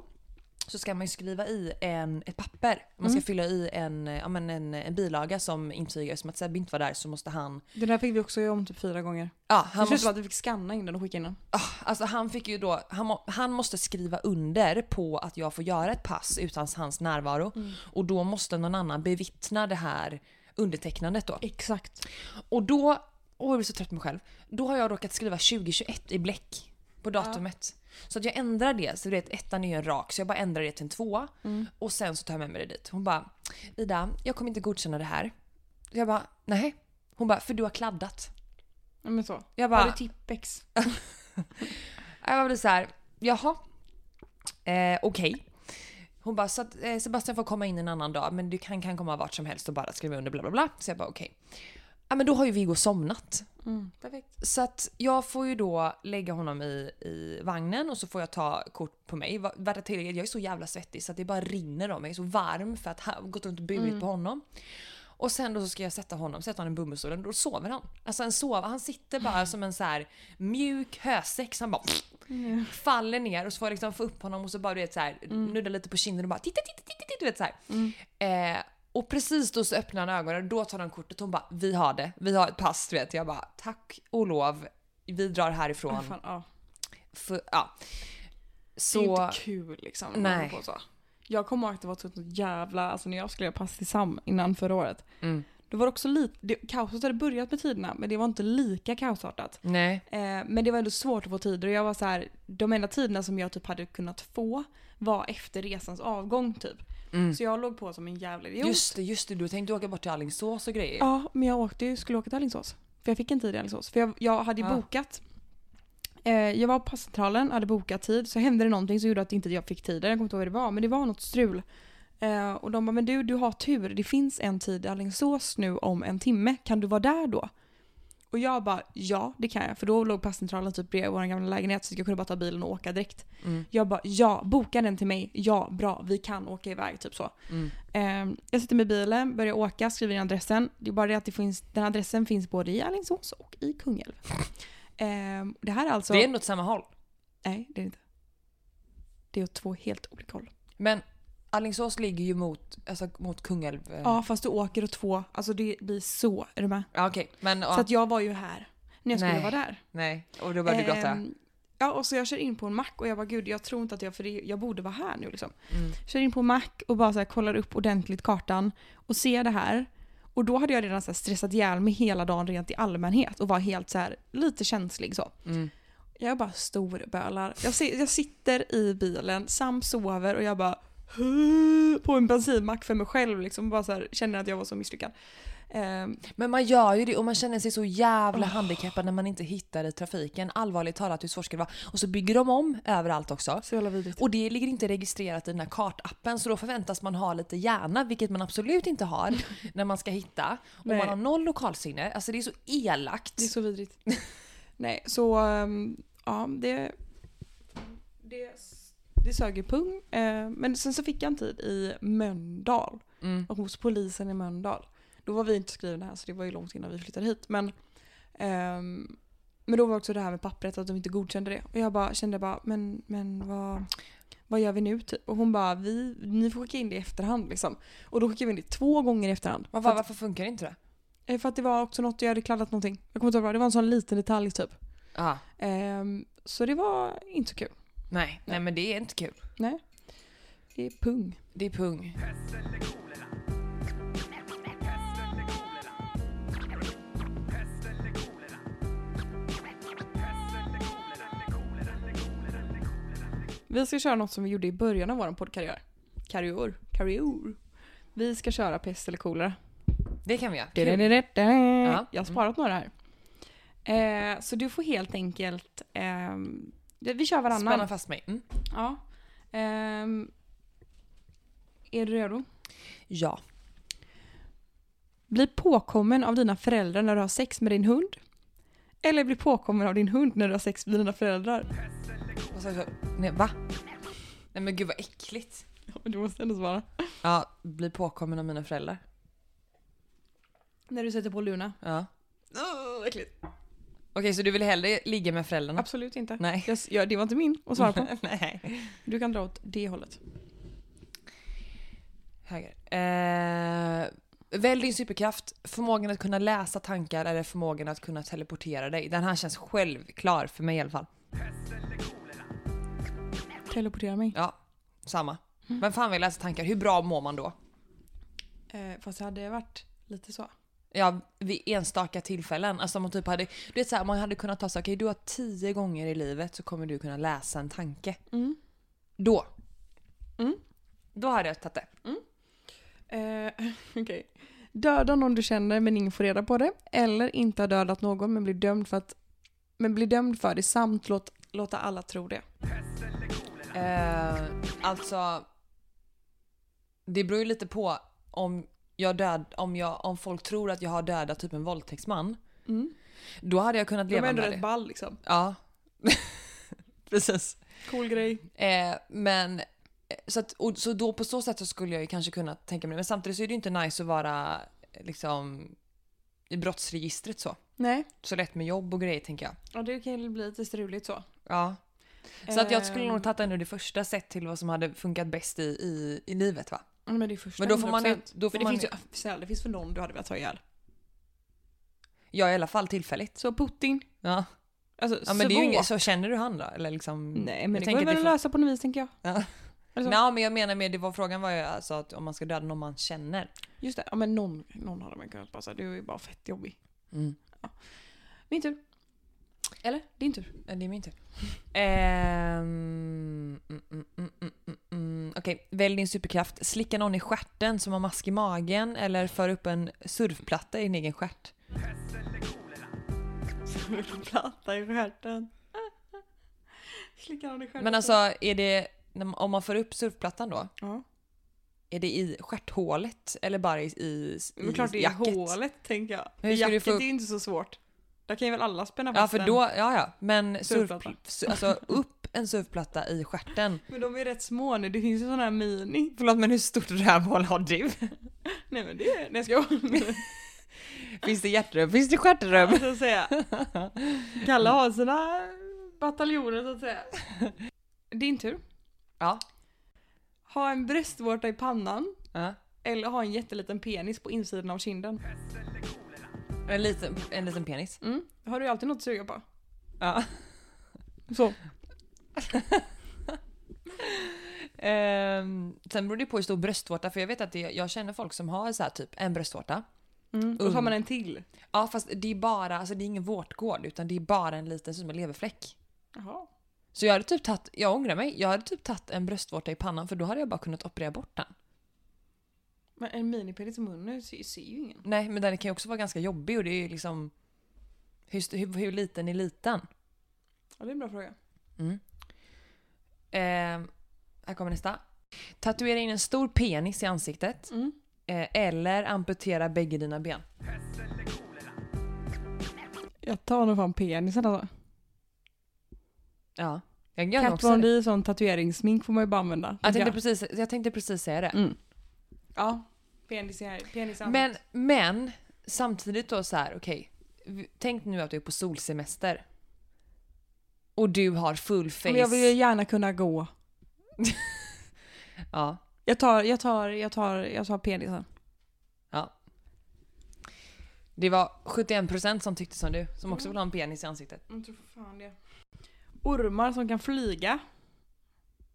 Speaker 3: så ska man ju skriva i en, ett papper. Man ska fylla i en, eh, ja, men en, en bilaga som intygar, som att Sebbe inte var där så måste han...
Speaker 2: Det där fick vi också göra om typ fyra gånger. Det
Speaker 3: Ja, han,
Speaker 2: känns
Speaker 3: måste,
Speaker 2: som att vi fick scanna in den och skicka in den.
Speaker 3: ah, alltså han fick ju då, han, må, han måste skriva under på att jag får göra ett pass utan hans närvaro. Och då måste någon annan bevittna det här undertecknandet då.
Speaker 2: Exakt.
Speaker 3: Och då, åh jag blir så trött på mig själv. Då har jag råkat skriva 2021 i bläck på datumet. Så att jag ändrar det, så du vet ettan är ju en rak så jag bara ändrar det till en tvåa.
Speaker 2: Mm.
Speaker 3: Och sen så tar jag med mig det dit. Hon bara “Ida, jag kommer inte godkänna det här”. Jag bara “Nej”. Hon bara “För du har kladdat”.
Speaker 2: Ja, men så.
Speaker 3: Jag
Speaker 2: Har
Speaker 3: bara
Speaker 2: du tippex?
Speaker 3: Jag var så här, jaha. Eh, Okej. Hon bara, så att eh, Sebastian får komma in en annan dag men du kan, kan komma vart som helst och bara skriva under bla bla bla. Så jag bara okej. Ja men då har ju Viggo somnat.
Speaker 2: Perfekt.
Speaker 3: Så att jag får ju då lägga honom i, i vagnen och så får jag ta kort på mig. Va- Värda tillägget, jag är så jävla svettig så att det bara rinner om mig. Jag är så varm för att ha gått runt och burit på honom. Och sen då så ska jag sätta honom, sätta honom i bummelstolen, då sover han. Alltså han sover, han sitter bara som en så här mjuk hösäck. så Han bara faller ner och så får jag liksom få upp honom och så bara du vet så här,
Speaker 2: Mm.
Speaker 3: nudda lite på kinden och bara titta, titta, titta, titta, du vet så här.
Speaker 2: Mm.
Speaker 3: Eh, och precis då så öppnar han ögonen och då tar han kortet och hon bara vi har det, vi har ett pass du vet. Jag bara tack och lov, vi drar härifrån.
Speaker 2: Ja, fan, ja.
Speaker 3: För, ja.
Speaker 2: Det är ju
Speaker 3: Så,
Speaker 2: inte kul liksom. när man
Speaker 3: Nej.
Speaker 2: håller På så. Jag kommer ihåg att det var typ något jävla, alltså när jag skulle göra pass till SAM innan förra året.
Speaker 3: Mm.
Speaker 2: Det var också lite, det, kaoset hade börjat med tiderna men det var inte lika kaosartat.
Speaker 3: nej.
Speaker 2: Eh, men det var ändå svårt att få tider och jag var så här, de enda tiderna som jag typ hade kunnat få var efter resans avgång typ. Så jag låg på som en jävla idiot.
Speaker 3: Just det, just det, du tänkte åka bort till Alingsås och grejer.
Speaker 2: Ja, men jag åkte, ju- skulle åka till Alingsås. För jag fick en tid i Alingsås. För jag, jag hade ju
Speaker 3: Ja.
Speaker 2: bokat. Eh, jag var på passcentralen, hade bokat tid. Så hände det någonting som gjorde att inte jag fick tiden. Jag kommer inte ihåg vad det var, men det var något strul. Eh, och de bara, men du, du har tur. Det finns en tid i Alingsås nu om en timme. Kan du vara där då? Och jag bara, ja det kan jag. För då låg passcentralen typ bredvid vår gamla lägenhet så jag kunde bara ta bilen och åka direkt.
Speaker 3: Mm,
Speaker 2: Jag bara, ja boka den till mig. Ja, bra, vi kan åka iväg. Typ så.
Speaker 3: mm.
Speaker 2: Eh, jag sitter med bilen, börjar åka, skriver in adressen. Det är bara det att det finns, den här adressen finns både i Alingsås och i Kungälv. Eh, det här är alltså...
Speaker 3: Det är ändå åt samma håll.
Speaker 2: Nej, det är det inte. Det är åt två helt olika håll.
Speaker 3: Men Alingsås ligger ju mot, alltså, mot Kungälv. eh.
Speaker 2: Ja, fast du åker åt två. Alltså det blir så. Är du med?
Speaker 3: Ja, okej. Men ja,
Speaker 2: Så att jag var ju här när jag skulle
Speaker 3: Nej.
Speaker 2: vara där.
Speaker 3: nej. Och då började du gråta.
Speaker 2: Ehm, Ja, och så jag kör in på en mack och jag bara gud jag tror inte att jag, för det, jag borde vara här nu liksom. Kör in på en mack och bara så här, kollar upp ordentligt kartan och ser det här. Och då hade jag redan så här, stressat ihjäl mig hela dagen rent i allmänhet och var helt så här, lite känslig så. Jag bara storbölar. Jag, si- jag sitter i bilen, Sam sover och jag bara "Huh", på en bensinmack för mig själv liksom. Bara så här, känner att jag var så misslyckad. Ehm,
Speaker 3: Men man gör ju det och man känner sig så jävla handikappad när man inte hittar i trafiken. Allvarligt talat hur svårt ska det vara? Och så bygger de om överallt också.
Speaker 2: så jävla vidrigt.
Speaker 3: Och det ligger inte registrerat i den här kartappen så då förväntas man ha lite hjärna, vilket man absolut inte har när man ska hitta. Och
Speaker 2: Nej.
Speaker 3: man har noll lokalsinne. Alltså det är så elakt.
Speaker 2: Det är så vidrigt. Nej, så ehm, ja, det, det, det sög i pung. Eh, men sen så fick jag en tid i Mölndal
Speaker 3: Mm.
Speaker 2: och hos polisen i Mölndal. Då var vi inte skrivna här så det var ju långt innan vi flyttade hit. Men, ehm, men då var också det här med pappret att de inte godkände det. Och jag bara kände bara, men, men vad, vad gör vi nu typ? Och hon bara, vi, ni får skicka in det i efterhand liksom. Och då skickade vi in det två gånger i efterhand.
Speaker 3: Varför, varför funkar inte det?
Speaker 2: Eh, För att det var också något, jag hade kladdat någonting. Jag kommer inte ihåg vad det var. Det var en sån liten detalj typ.
Speaker 3: Ah,
Speaker 2: Ehm, så det var inte så kul.
Speaker 3: nej, nej men det är inte kul.
Speaker 2: Nej. Det är pung.
Speaker 3: Det är pung.
Speaker 2: Vi ska köra något som vi gjorde i början av vår poddkarriär. Karriär. Karriär. Vi ska köra pest eller kolera.
Speaker 3: Det kan vi göra. Kul.
Speaker 2: Ja, Jag har sparat några här. Eh, så du får helt enkelt... ehm, det- vi kör varannan.
Speaker 3: Spänna fast mig. Mm.
Speaker 2: Ja. Ehm, är du redo?
Speaker 3: Ja.
Speaker 2: Bli påkommen av dina föräldrar när du har sex med din hund. Eller bli påkommen av din hund när du har sex med dina föräldrar.
Speaker 3: Och så, så, nej, va? Nej men gud vad äckligt.
Speaker 2: Du måste ändå svara.
Speaker 3: Ja, bli påkommen av mina föräldrar.
Speaker 2: När du sätter på Luna?
Speaker 3: Ja.
Speaker 2: äckligt.
Speaker 3: Okej, så du vill hellre ligga med föräldrarna?
Speaker 2: Absolut inte.
Speaker 3: Nej.
Speaker 2: Jag, s- ja, det var inte min att svara på.
Speaker 3: Nej.
Speaker 2: Du kan dra åt det hållet.
Speaker 3: Höger. Eh, välj din superkraft. Förmågan att kunna läsa tankar eller förmågan att kunna teleportera dig. Den här känns självklar för mig i alla fall.
Speaker 2: Teleportera mig.
Speaker 3: Ja, samma. Vem fan vill läsa tankar? Hur bra mår man då?
Speaker 2: Eh, fast det hade varit lite så.
Speaker 3: Ja, vid enstaka tillfällen. Alltså om man typ hade, du vet så här, man hade kunnat ta så här, okej du har tio gånger i livet så kommer du kunna läsa en tanke.
Speaker 2: Mm.
Speaker 3: Då.
Speaker 2: Mm.
Speaker 3: Då hade jag tagit det.
Speaker 2: Eh, okej. Döda någon du känner men ingen får reda på det. Eller inte ha dödat någon men blir dömd för, att, men blir dömd för det samt låt, låta alla tro det.
Speaker 3: Eh, alltså, det beror ju lite på om, jag död, om, jag, om folk tror att jag har dödat typ en våldtäktsman.
Speaker 2: Mm.
Speaker 3: Då hade jag kunnat
Speaker 2: De är
Speaker 3: leva
Speaker 2: ändå
Speaker 3: med
Speaker 2: rätt
Speaker 3: det.
Speaker 2: ball liksom.
Speaker 3: Ja, precis.
Speaker 2: Cool grej.
Speaker 3: Eh, men eh, så, att, och, så då på så sätt så skulle jag ju kanske kunna tänka mig det. Men samtidigt så är det ju inte nice att vara eh, liksom i brottsregistret så.
Speaker 2: Nej,
Speaker 3: Så lätt med jobb och grejer tänker jag.
Speaker 2: ja, det kan ju bli lite struligt så.
Speaker 3: Ja. Så att jag skulle
Speaker 2: Ehm.
Speaker 3: nog tagit ändå det första sett till vad som hade funkat bäst i, i, i livet va?
Speaker 2: Ja, Men det är första
Speaker 3: Men då får man ju-
Speaker 2: 100%.
Speaker 3: då får
Speaker 2: men det,
Speaker 3: man
Speaker 2: finns
Speaker 3: ju-
Speaker 2: ju, snälla, det finns väl någon du hade velat ha ihjäl?
Speaker 3: Ja i alla fall tillfälligt.
Speaker 2: Så Putin.
Speaker 3: Ja,
Speaker 2: Alltså,
Speaker 3: ja men det är ju
Speaker 2: svår.
Speaker 3: inget, så känner du han då? Eller liksom?
Speaker 2: Nej men
Speaker 3: Jag
Speaker 2: det går väl
Speaker 3: tänker det
Speaker 2: att
Speaker 3: får-
Speaker 2: lösa på något vis tänker jag.
Speaker 3: Ja.
Speaker 2: Alltså,
Speaker 3: Nej men jag menar med det var frågan var ju alltså att om man ska döda någon man känner.
Speaker 2: Just det, ja, men någon, någon hade man kunnat passa. Du är bara fett jobbig.
Speaker 3: Mm.
Speaker 2: Min tur. Eller? Din tur.
Speaker 3: Ja, Det är min tur. Ehm, mm, mm, mm, mm, mm, mm. Okej, välj din superkraft. Slicka någon i stjärten som har mask i magen eller för upp en surfplatta i din egen stjärt.
Speaker 2: Platta i stjärten. Slickar hon i stjärten?
Speaker 3: Men alltså, är det, när- om man för upp surfplattan då,
Speaker 2: Ja.
Speaker 3: är det i stjärthålet eller bara i, i,
Speaker 2: Men
Speaker 3: i
Speaker 2: klart det är
Speaker 3: jacket?
Speaker 2: hålet tänker jag.
Speaker 3: Hur ska du
Speaker 2: Jacket
Speaker 3: få upp-
Speaker 2: är ju inte så svårt. Där kan ju väl alla spänna
Speaker 3: Ja,
Speaker 2: fast
Speaker 3: för
Speaker 2: den.
Speaker 3: då, ja ja. Men surf,
Speaker 2: Surfplatta.
Speaker 3: su- alltså upp en surfplatta i stjärten.
Speaker 2: Men de är rätt små nu, det finns ju sådana här mini.
Speaker 3: Förlåt men hur stort rövhål har du?
Speaker 2: Nej men det, nej ska jag
Speaker 3: Finns det hjärtrum? Finns det stjärtrum?
Speaker 2: så att säga. Kalle har sina bataljoner så att säga. Din tur.
Speaker 3: Ja.
Speaker 2: Ha en bröstvårta i pannan
Speaker 3: ja.
Speaker 2: eller ha en jätteliten penis på insidan av kinden.
Speaker 3: En liten, en liten penis.
Speaker 2: Mm. Har du ju alltid något att suga på.
Speaker 3: Ja.
Speaker 2: Så.
Speaker 3: Ehm, sen beror det på hur stor bröstvårta, för jag vet att det, jag känner folk som har så här typ en bröstvårta.
Speaker 2: Mm. Då tar man en till.
Speaker 3: Ja fast det är bara, alltså det är ingen vårtgård utan det är bara en liten som en leverfläck.
Speaker 2: Jaha.
Speaker 3: Så jag hade typ tagit, jag ångrar mig, jag hade typ tagit en bröstvårta i pannan för då hade jag bara kunnat operera bort den.
Speaker 2: Men en minipenis i munnen ser, ser ju ingen.
Speaker 3: Nej men den kan ju också vara ganska jobbig och det är ju liksom hur, st- hur, hur liten är liten? Mm.
Speaker 2: Ja, det är en bra fråga.
Speaker 3: Ehm, här kommer nästa. Tatuera in en stor penis i ansiktet
Speaker 2: Mm.
Speaker 3: eh, eller amputera bägge dina ben.
Speaker 2: Jag tar nog fan penisen alltså.
Speaker 3: Ja. Jag gör nog också det.
Speaker 2: Kat sån tatueringssmink får man ju bara använda.
Speaker 3: Jag tänkte, precis, jag tänkte precis säga det.
Speaker 2: Mm. Ja. Penis i här. Penis i
Speaker 3: Men, men samtidigt då så här, okej. vi- Tänk nu att du är på solsemester. Och du har full face.
Speaker 2: Men jag vill ju gärna kunna gå.
Speaker 3: Ja.
Speaker 2: Jag tar, jag tar, jag tar, jag tar penisen.
Speaker 3: Det var 71% som tyckte som du, som
Speaker 2: Mm.
Speaker 3: också vill ha en penis i ansiktet.
Speaker 2: Jag tror Mm, fan det. Ormar som kan flyga.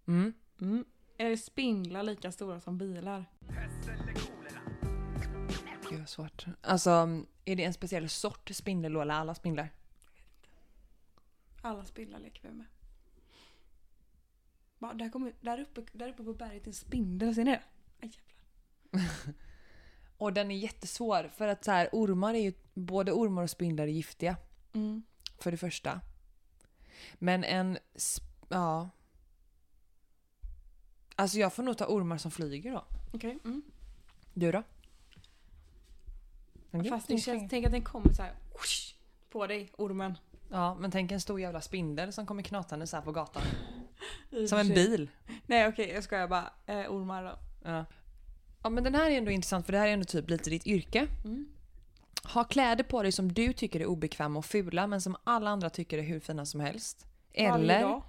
Speaker 3: Mm.
Speaker 2: Eller spindlar lika stora som bilar.
Speaker 3: Gud vad svårt. Alltså, är det en speciell sort spindel då, eller alla spindlar?
Speaker 2: Alla spindlar leker vi med. Bara, där, kommer, där, uppe, där uppe på berget är en spindel, ser ni det? Aj, jävlar.
Speaker 3: Och den är jättesvår för att så här, ormar är ju, både ormar och spindlar är giftiga.
Speaker 2: Mm.
Speaker 3: För det första. Men en... sp- Ja. Alltså jag får nog ta ormar som flyger då.
Speaker 2: Okej. Mm.
Speaker 3: Du då? Men
Speaker 2: Mm. Fast det känns, tänk att den kommer så här whoosh, på dig, ormen.
Speaker 3: Ja, men tänk en stor jävla spindel som kommer knatande så här på gatan.
Speaker 2: I och
Speaker 3: Som
Speaker 2: för
Speaker 3: en
Speaker 2: sig.
Speaker 3: bil.
Speaker 2: Nej okej, jag skojar bara. Eh, ormar då.
Speaker 3: Ja. ja, men den här är ändå intressant för det här är ändå typ lite ditt yrke.
Speaker 2: Mm.
Speaker 3: Ha kläder på dig som du tycker är obekväma och fula men som alla andra tycker är hur fina som helst.
Speaker 2: Varje
Speaker 3: Eller
Speaker 2: dag.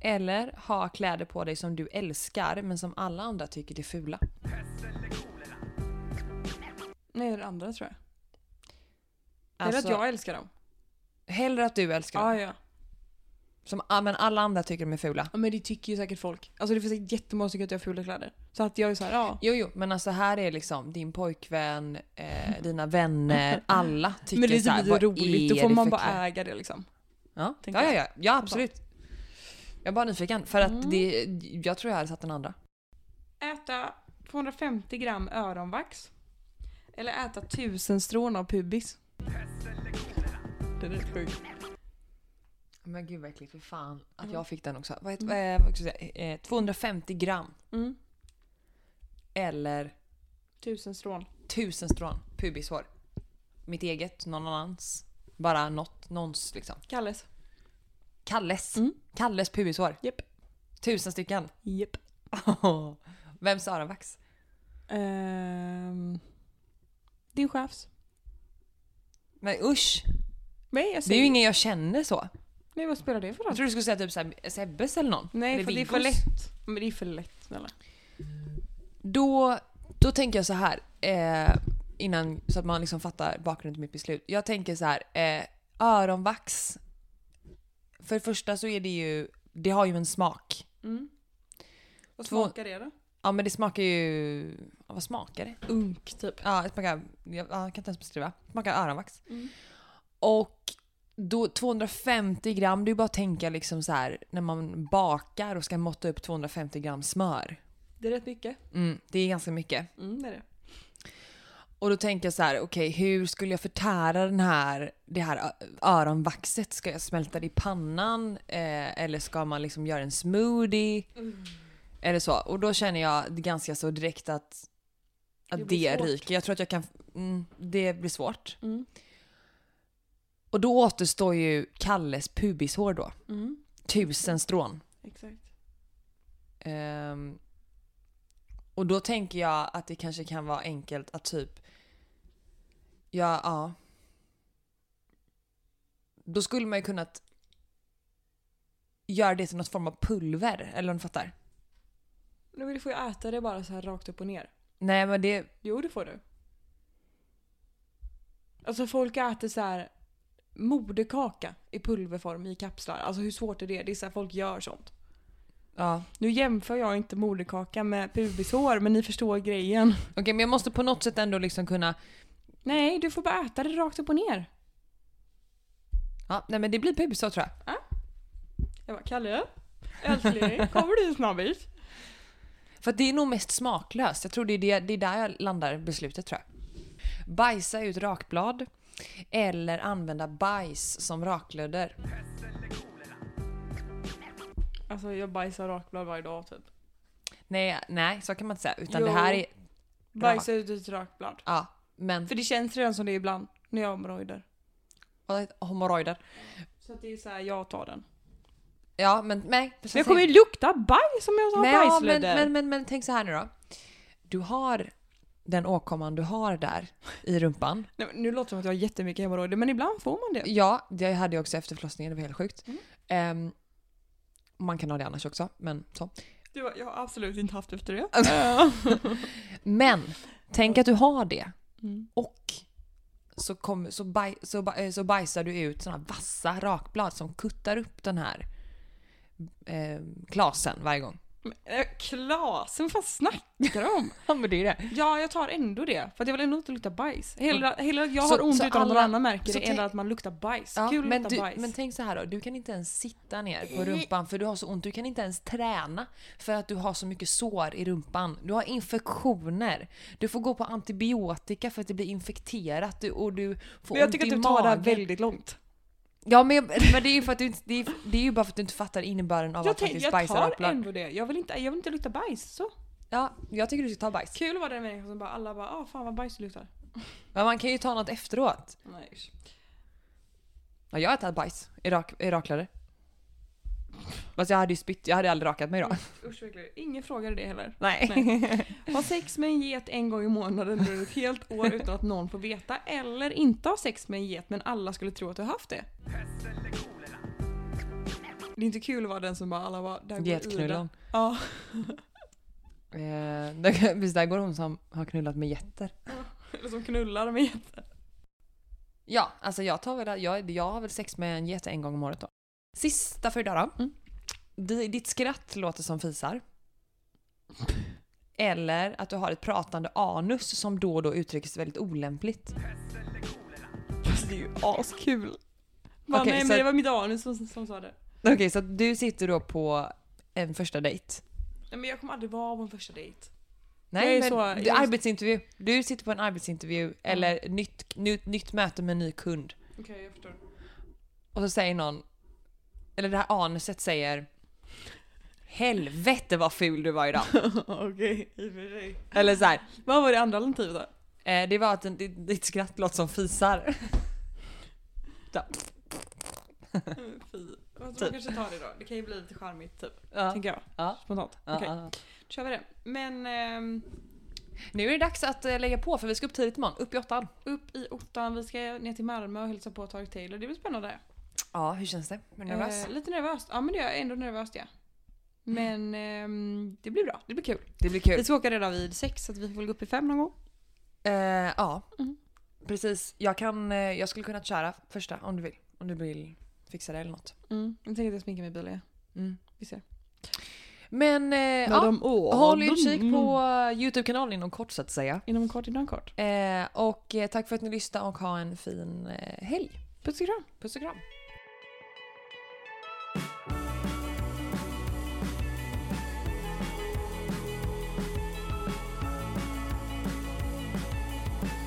Speaker 3: Eller ha kläder på dig som du älskar men som alla andra tycker är fula.
Speaker 2: Nej, det är det andra tror jag. Eller
Speaker 3: Alltså,
Speaker 2: att jag älskar dem. Ah,
Speaker 3: Hellre att du älskar dem.
Speaker 2: Ja, ja.
Speaker 3: Som, ah, men alla andra tycker de är fula.
Speaker 2: Ja, men det tycker ju säkert folk. Alltså det finns säkert jättemånga som tycker att jag har fula kläder. Så att jag är så här, ja.
Speaker 3: Jo, jo, men alltså här är liksom din pojkvän, eh, dina vänner, alla tycker
Speaker 2: Men det är
Speaker 3: så här,
Speaker 2: typ lite
Speaker 3: "Vad
Speaker 2: roligt,
Speaker 3: är
Speaker 2: då får
Speaker 3: det
Speaker 2: man
Speaker 3: för
Speaker 2: bara
Speaker 3: kläder?"
Speaker 2: äga det liksom.
Speaker 3: Ja,
Speaker 2: tänker
Speaker 3: ja, ja,
Speaker 2: jag.
Speaker 3: ja, ja absolut. Jag är bara nyfiken för att
Speaker 2: Mm.
Speaker 3: det, jag tror jag hade satt den andra.
Speaker 2: Äta 250 gram öronvax. Eller äta tusen strån av pubis. Den är sjuk.
Speaker 3: Men gud vad äckligt, för fan att
Speaker 2: Mm.
Speaker 3: jag fick den också. Vad heter, eh, vad ska jag säga, eh, 250 gram
Speaker 2: Mm.
Speaker 3: eller
Speaker 2: Tusen strån.
Speaker 3: tusen strån pubishår. Mitt eget, någon annans. Bara något, någons liksom.
Speaker 2: Kalles.
Speaker 3: Kalles.
Speaker 2: Mm.
Speaker 3: Kalles pubishår.
Speaker 2: Japp.
Speaker 3: Tusen stycken.
Speaker 2: Japp.
Speaker 3: Vems öronvax?
Speaker 2: Ehm, din chefs.
Speaker 3: Men usch!
Speaker 2: Nej, jag
Speaker 3: Det är
Speaker 2: säger
Speaker 3: ju ingen jag känner så.
Speaker 2: Nej, vad spelar det för roll?
Speaker 3: Jag tror du skulle säga typ såhär, Sebbes eller någon.
Speaker 2: Nej,
Speaker 3: eller
Speaker 2: för det är
Speaker 3: Viggos.
Speaker 2: för lätt. Men det är för lätt, snälla.
Speaker 3: Då, då tänker jag så här. Eh, innan, så att man liksom fattar bakgrunden till mitt beslut. Jag tänker så här. Eh, öronvax. För det första så är det ju, det har ju en smak.
Speaker 2: Mm. Vad
Speaker 3: Två-
Speaker 2: smakar det då?
Speaker 3: Ja men det smakar ju, ja, vad smakar det?
Speaker 2: Unk, typ.
Speaker 3: Ja, det smakar, jag, ja, jag kan inte ens beskriva. Det smakar öronvax.
Speaker 2: Mm.
Speaker 3: Och då 250 gram, det är ju bara att tänka liksom så här när man bakar och ska måtta upp 250 gram smör.
Speaker 2: Det är rätt mycket.
Speaker 3: Mm, det är ganska mycket.
Speaker 2: Mm, det är det.
Speaker 3: Och då tänker jag så här, okej hur skulle jag förtära den här, det här ö- öronvaxet? Ska jag smälta det i pannan? Eh, eller ska man liksom göra en smoothie?
Speaker 2: Mm.
Speaker 3: Eller så. Och då känner jag ganska så direkt att,
Speaker 2: Det
Speaker 3: att
Speaker 2: blir
Speaker 3: det,
Speaker 2: svårt.
Speaker 3: ryker. Jag tror att jag kan, mm, det blir svårt.
Speaker 2: Mm.
Speaker 3: Och då återstår ju Kalles pubishår då.
Speaker 2: Mm.
Speaker 3: Tusen strån.
Speaker 2: Exakt.
Speaker 3: Ehm, och då tänker jag att det kanske kan vara enkelt att typ... Ja, ja. Då skulle man ju kunnat göra det till något form av pulver, eller om du fattar?
Speaker 2: Nu vill du få äta det bara så här rakt upp och ner.
Speaker 3: Nej men det...
Speaker 2: Jo, det får du. Alltså folk äter så här moderkaka i pulverform i kapslar. Alltså hur svårt är det? Det är så här folk gör sånt.
Speaker 3: Ja.
Speaker 2: Nu jämför jag inte moderkaka med pubishår men ni förstår grejen.
Speaker 3: Okej men jag måste på något sätt ändå liksom kunna...
Speaker 2: Nej, du får bara äta det rakt upp och ner.
Speaker 3: Ja, nej men det blir pubisår tror jag.
Speaker 2: Jag bara, Kalle? Älskling, kommer du snabbis?
Speaker 3: För att det är nog mest smaklöst. Jag tror det är, det, det är där jag landar beslutet tror jag. Bajsa ut rakblad. Eller använda bajs som raklödder.
Speaker 2: Alltså jag bajsar rakblad varje dag typ.
Speaker 3: Nej, nej, så kan man inte säga. Utan
Speaker 2: Jo.
Speaker 3: det här är...
Speaker 2: Bajsar ut ett rakblad.
Speaker 3: Ja, men...
Speaker 2: För det känns redan som det är ibland när jag har hemorrojder.
Speaker 3: Hemorrojder.
Speaker 2: Så att det är så här, jag tar den.
Speaker 3: Ja, men nej.
Speaker 2: Men jag kommer ju lukta bajs om jag har
Speaker 3: men, ja, men,
Speaker 2: bajslödder.
Speaker 3: men, men, men tänk så här nu då. Du har den åkomman du har där i rumpan.
Speaker 2: Nej, men nu låter det som att jag har jättemycket hemorrojder men ibland får man det.
Speaker 3: Ja, det hade jag också efter förlossningen. Det var helt sjukt.
Speaker 2: Mm.
Speaker 3: Ehm, man kan ha det annars också, men så.
Speaker 2: Du, jag har absolut inte haft efter det.
Speaker 3: Men tänk att du har det
Speaker 2: Mm.
Speaker 3: och så, kom, så, baj, så, ba- eh, så bajsar du ut såna vassa rakblad som kuttar upp den här eh, klasen varje gång.
Speaker 2: Men, eh, Klasen, vad fan snackar du om?
Speaker 3: Ja men det är det.
Speaker 2: Ja, jag tar ändå det. För att jag vill ändå inte lukta bajs. Hela, hela, jag
Speaker 3: Så-
Speaker 2: har ont
Speaker 3: så
Speaker 2: utan att någon
Speaker 3: alla-
Speaker 2: annan märker
Speaker 3: så
Speaker 2: det,
Speaker 3: tänk-
Speaker 2: eller att man luktar bajs.
Speaker 3: Ja,
Speaker 2: Kul att
Speaker 3: men,
Speaker 2: lukta
Speaker 3: du,
Speaker 2: bajs.
Speaker 3: men tänk så här då, du kan inte ens sitta ner på rumpan för du har så ont. Du kan inte ens träna för att du har så mycket sår i rumpan. Du har infektioner. Du får gå på antibiotika för att det blir infekterat du, och du får
Speaker 2: Men jag
Speaker 3: ont
Speaker 2: tycker
Speaker 3: i
Speaker 2: att du tar det här
Speaker 3: magen.
Speaker 2: väldigt långt.
Speaker 3: Ja men, jag, men det, är ju för att du, inte- det, är, det är ju bara för att du inte fattar innebörden av
Speaker 2: Jag,
Speaker 3: att
Speaker 2: tänk,
Speaker 3: faktiskt
Speaker 2: jag
Speaker 3: bajsa
Speaker 2: tar
Speaker 3: rakblad.
Speaker 2: ändå det. Jag vill, inte, jag vill inte lukta bajs. Så.
Speaker 3: Ja, jag tycker du ska ta bajs.
Speaker 2: Kul att vara den människan som bara alla bara ah fan vad bajs det luktar.
Speaker 3: Men man kan ju ta något efteråt.
Speaker 2: Nej. usch.
Speaker 3: Ja, jag har tagit bajs i, rak, i raklödder. Fast jag hade ju spytt, jag hade aldrig rakat mig idag.
Speaker 2: Usch vad äckligt. Ingen frågade det heller.
Speaker 3: Typ. Nej.
Speaker 2: Ha sex med en get en gång i månaden under ett helt år utan att någon får veta. Eller inte ha sex med en get men alla skulle tro att du har haft det. Det är inte kul att vara den som bara alla bara, där går Ida.
Speaker 3: Getknullan.
Speaker 2: Ja.
Speaker 3: Eh, där- visst, där går hon som har knullat med getter.
Speaker 2: Eller som knullar med jätte.
Speaker 3: Ja, alltså jag, tar väl, jag, jag har väl sex med en get en gång om året då. Sista för idag då.
Speaker 2: Mm.
Speaker 3: Di- Ditt skratt låter som fisar. Eller att du har ett pratande anus som då och då uttrycks väldigt olämpligt.
Speaker 2: Alltså det är ju askul. Bara,
Speaker 3: Okej,
Speaker 2: nej
Speaker 3: så-
Speaker 2: men det var mitt anus som, som sa det.
Speaker 3: Okej, så att du sitter då på en första dejt.
Speaker 2: Nej men jag kommer aldrig vara på en första dejt. Jag
Speaker 3: Nej,
Speaker 2: är
Speaker 3: men
Speaker 2: så-
Speaker 3: du,
Speaker 2: jag-
Speaker 3: arbetsintervju. Du sitter på en arbetsintervju eller nytt, nytt, nytt möte med en ny kund.
Speaker 2: Okej jag förstår.
Speaker 3: Och så säger någon, eller det här anuset säger Helvete vad ful du var idag.
Speaker 2: Okej, i och för sig.
Speaker 3: eller så här,
Speaker 2: Vad var det andra alternativet då?
Speaker 3: eh, det var att en, ditt ditt skratt låter som fisar.
Speaker 2: Fy. Alltså,
Speaker 3: Typ.
Speaker 2: man kanske tar det då. Det kan ju bli lite charmigt typ.
Speaker 3: Ja.
Speaker 2: Tänker jag.
Speaker 3: Ja.
Speaker 2: Spontant.
Speaker 3: Ja,
Speaker 2: Okej,
Speaker 3: ja, ja.
Speaker 2: då kör vi det. Men ehm,
Speaker 3: Nu är det dags att eh, lägga på för vi ska upp tidigt imorgon, upp i åttan.
Speaker 2: upp i ottan, vi ska ner till Malmö och hälsa på Tareq Taylor. Det blir spännande.
Speaker 3: Ja, hur känns det? Är du nervös? Mm.
Speaker 2: Eh, lite nervöst. Ja men det är jag ändå nervöst ja. Men ehm, det blir bra, det blir kul.
Speaker 3: det blir kul.
Speaker 2: Vi ska åka redan vid sex så att vi får väl gå upp i fem någon gång.
Speaker 3: Eh, ja,
Speaker 2: Mm.
Speaker 3: precis. Jag, kan, eh, jag skulle kunna köra första om du vill. Om du vill fixa det eller något.
Speaker 2: Mm. Jag tänker att jag sminkar mig i bilen ja. Vi ser.
Speaker 3: Men eh,
Speaker 2: Ja.
Speaker 3: ja, håll utkik på eh, Youtube-kanalen inom kort så att säga.
Speaker 2: Mm. Inom kort, inom kort.
Speaker 3: Eh, och eh, tack för att ni lyssnade och ha en fin eh, helg.
Speaker 2: Puss och kram.
Speaker 3: Puss och kram.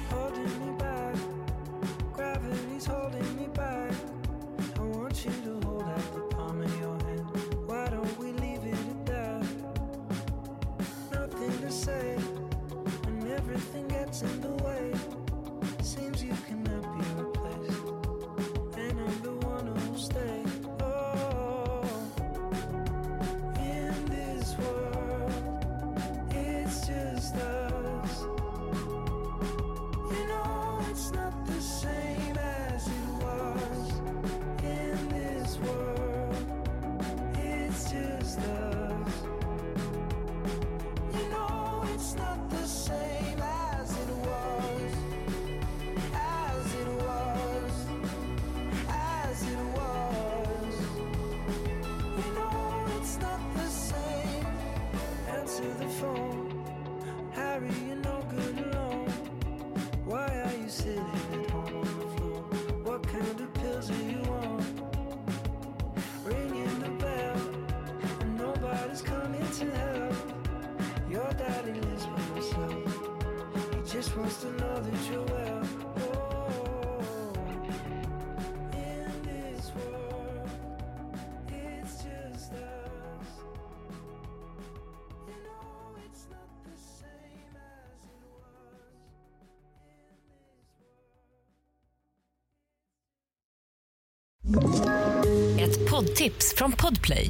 Speaker 4: holding me back. Gravity's holding me back. I want you to hold out the palm of your hand. Why don't we leave it at that? Nothing to say when everything gets in the way. Seems you cannot be replaced, and I'm the one who'll stay. Oh, in this world, it's just us. You know it's not the same as it was in this world. It's just us. You know it's not the same as it was, as it was, as it was. You know it's not the same. Answer the phone, Harry. You're no good alone. Why are you sitting at home on the floor? What kind of pills are you on? Ringing the bell, and nobody's coming to help. Your daddy lives by himself. He just wants to know that you're well. Oh, in this world, it's just us. You know it's not the same as it was.
Speaker 5: Ett poddtips från Podplay.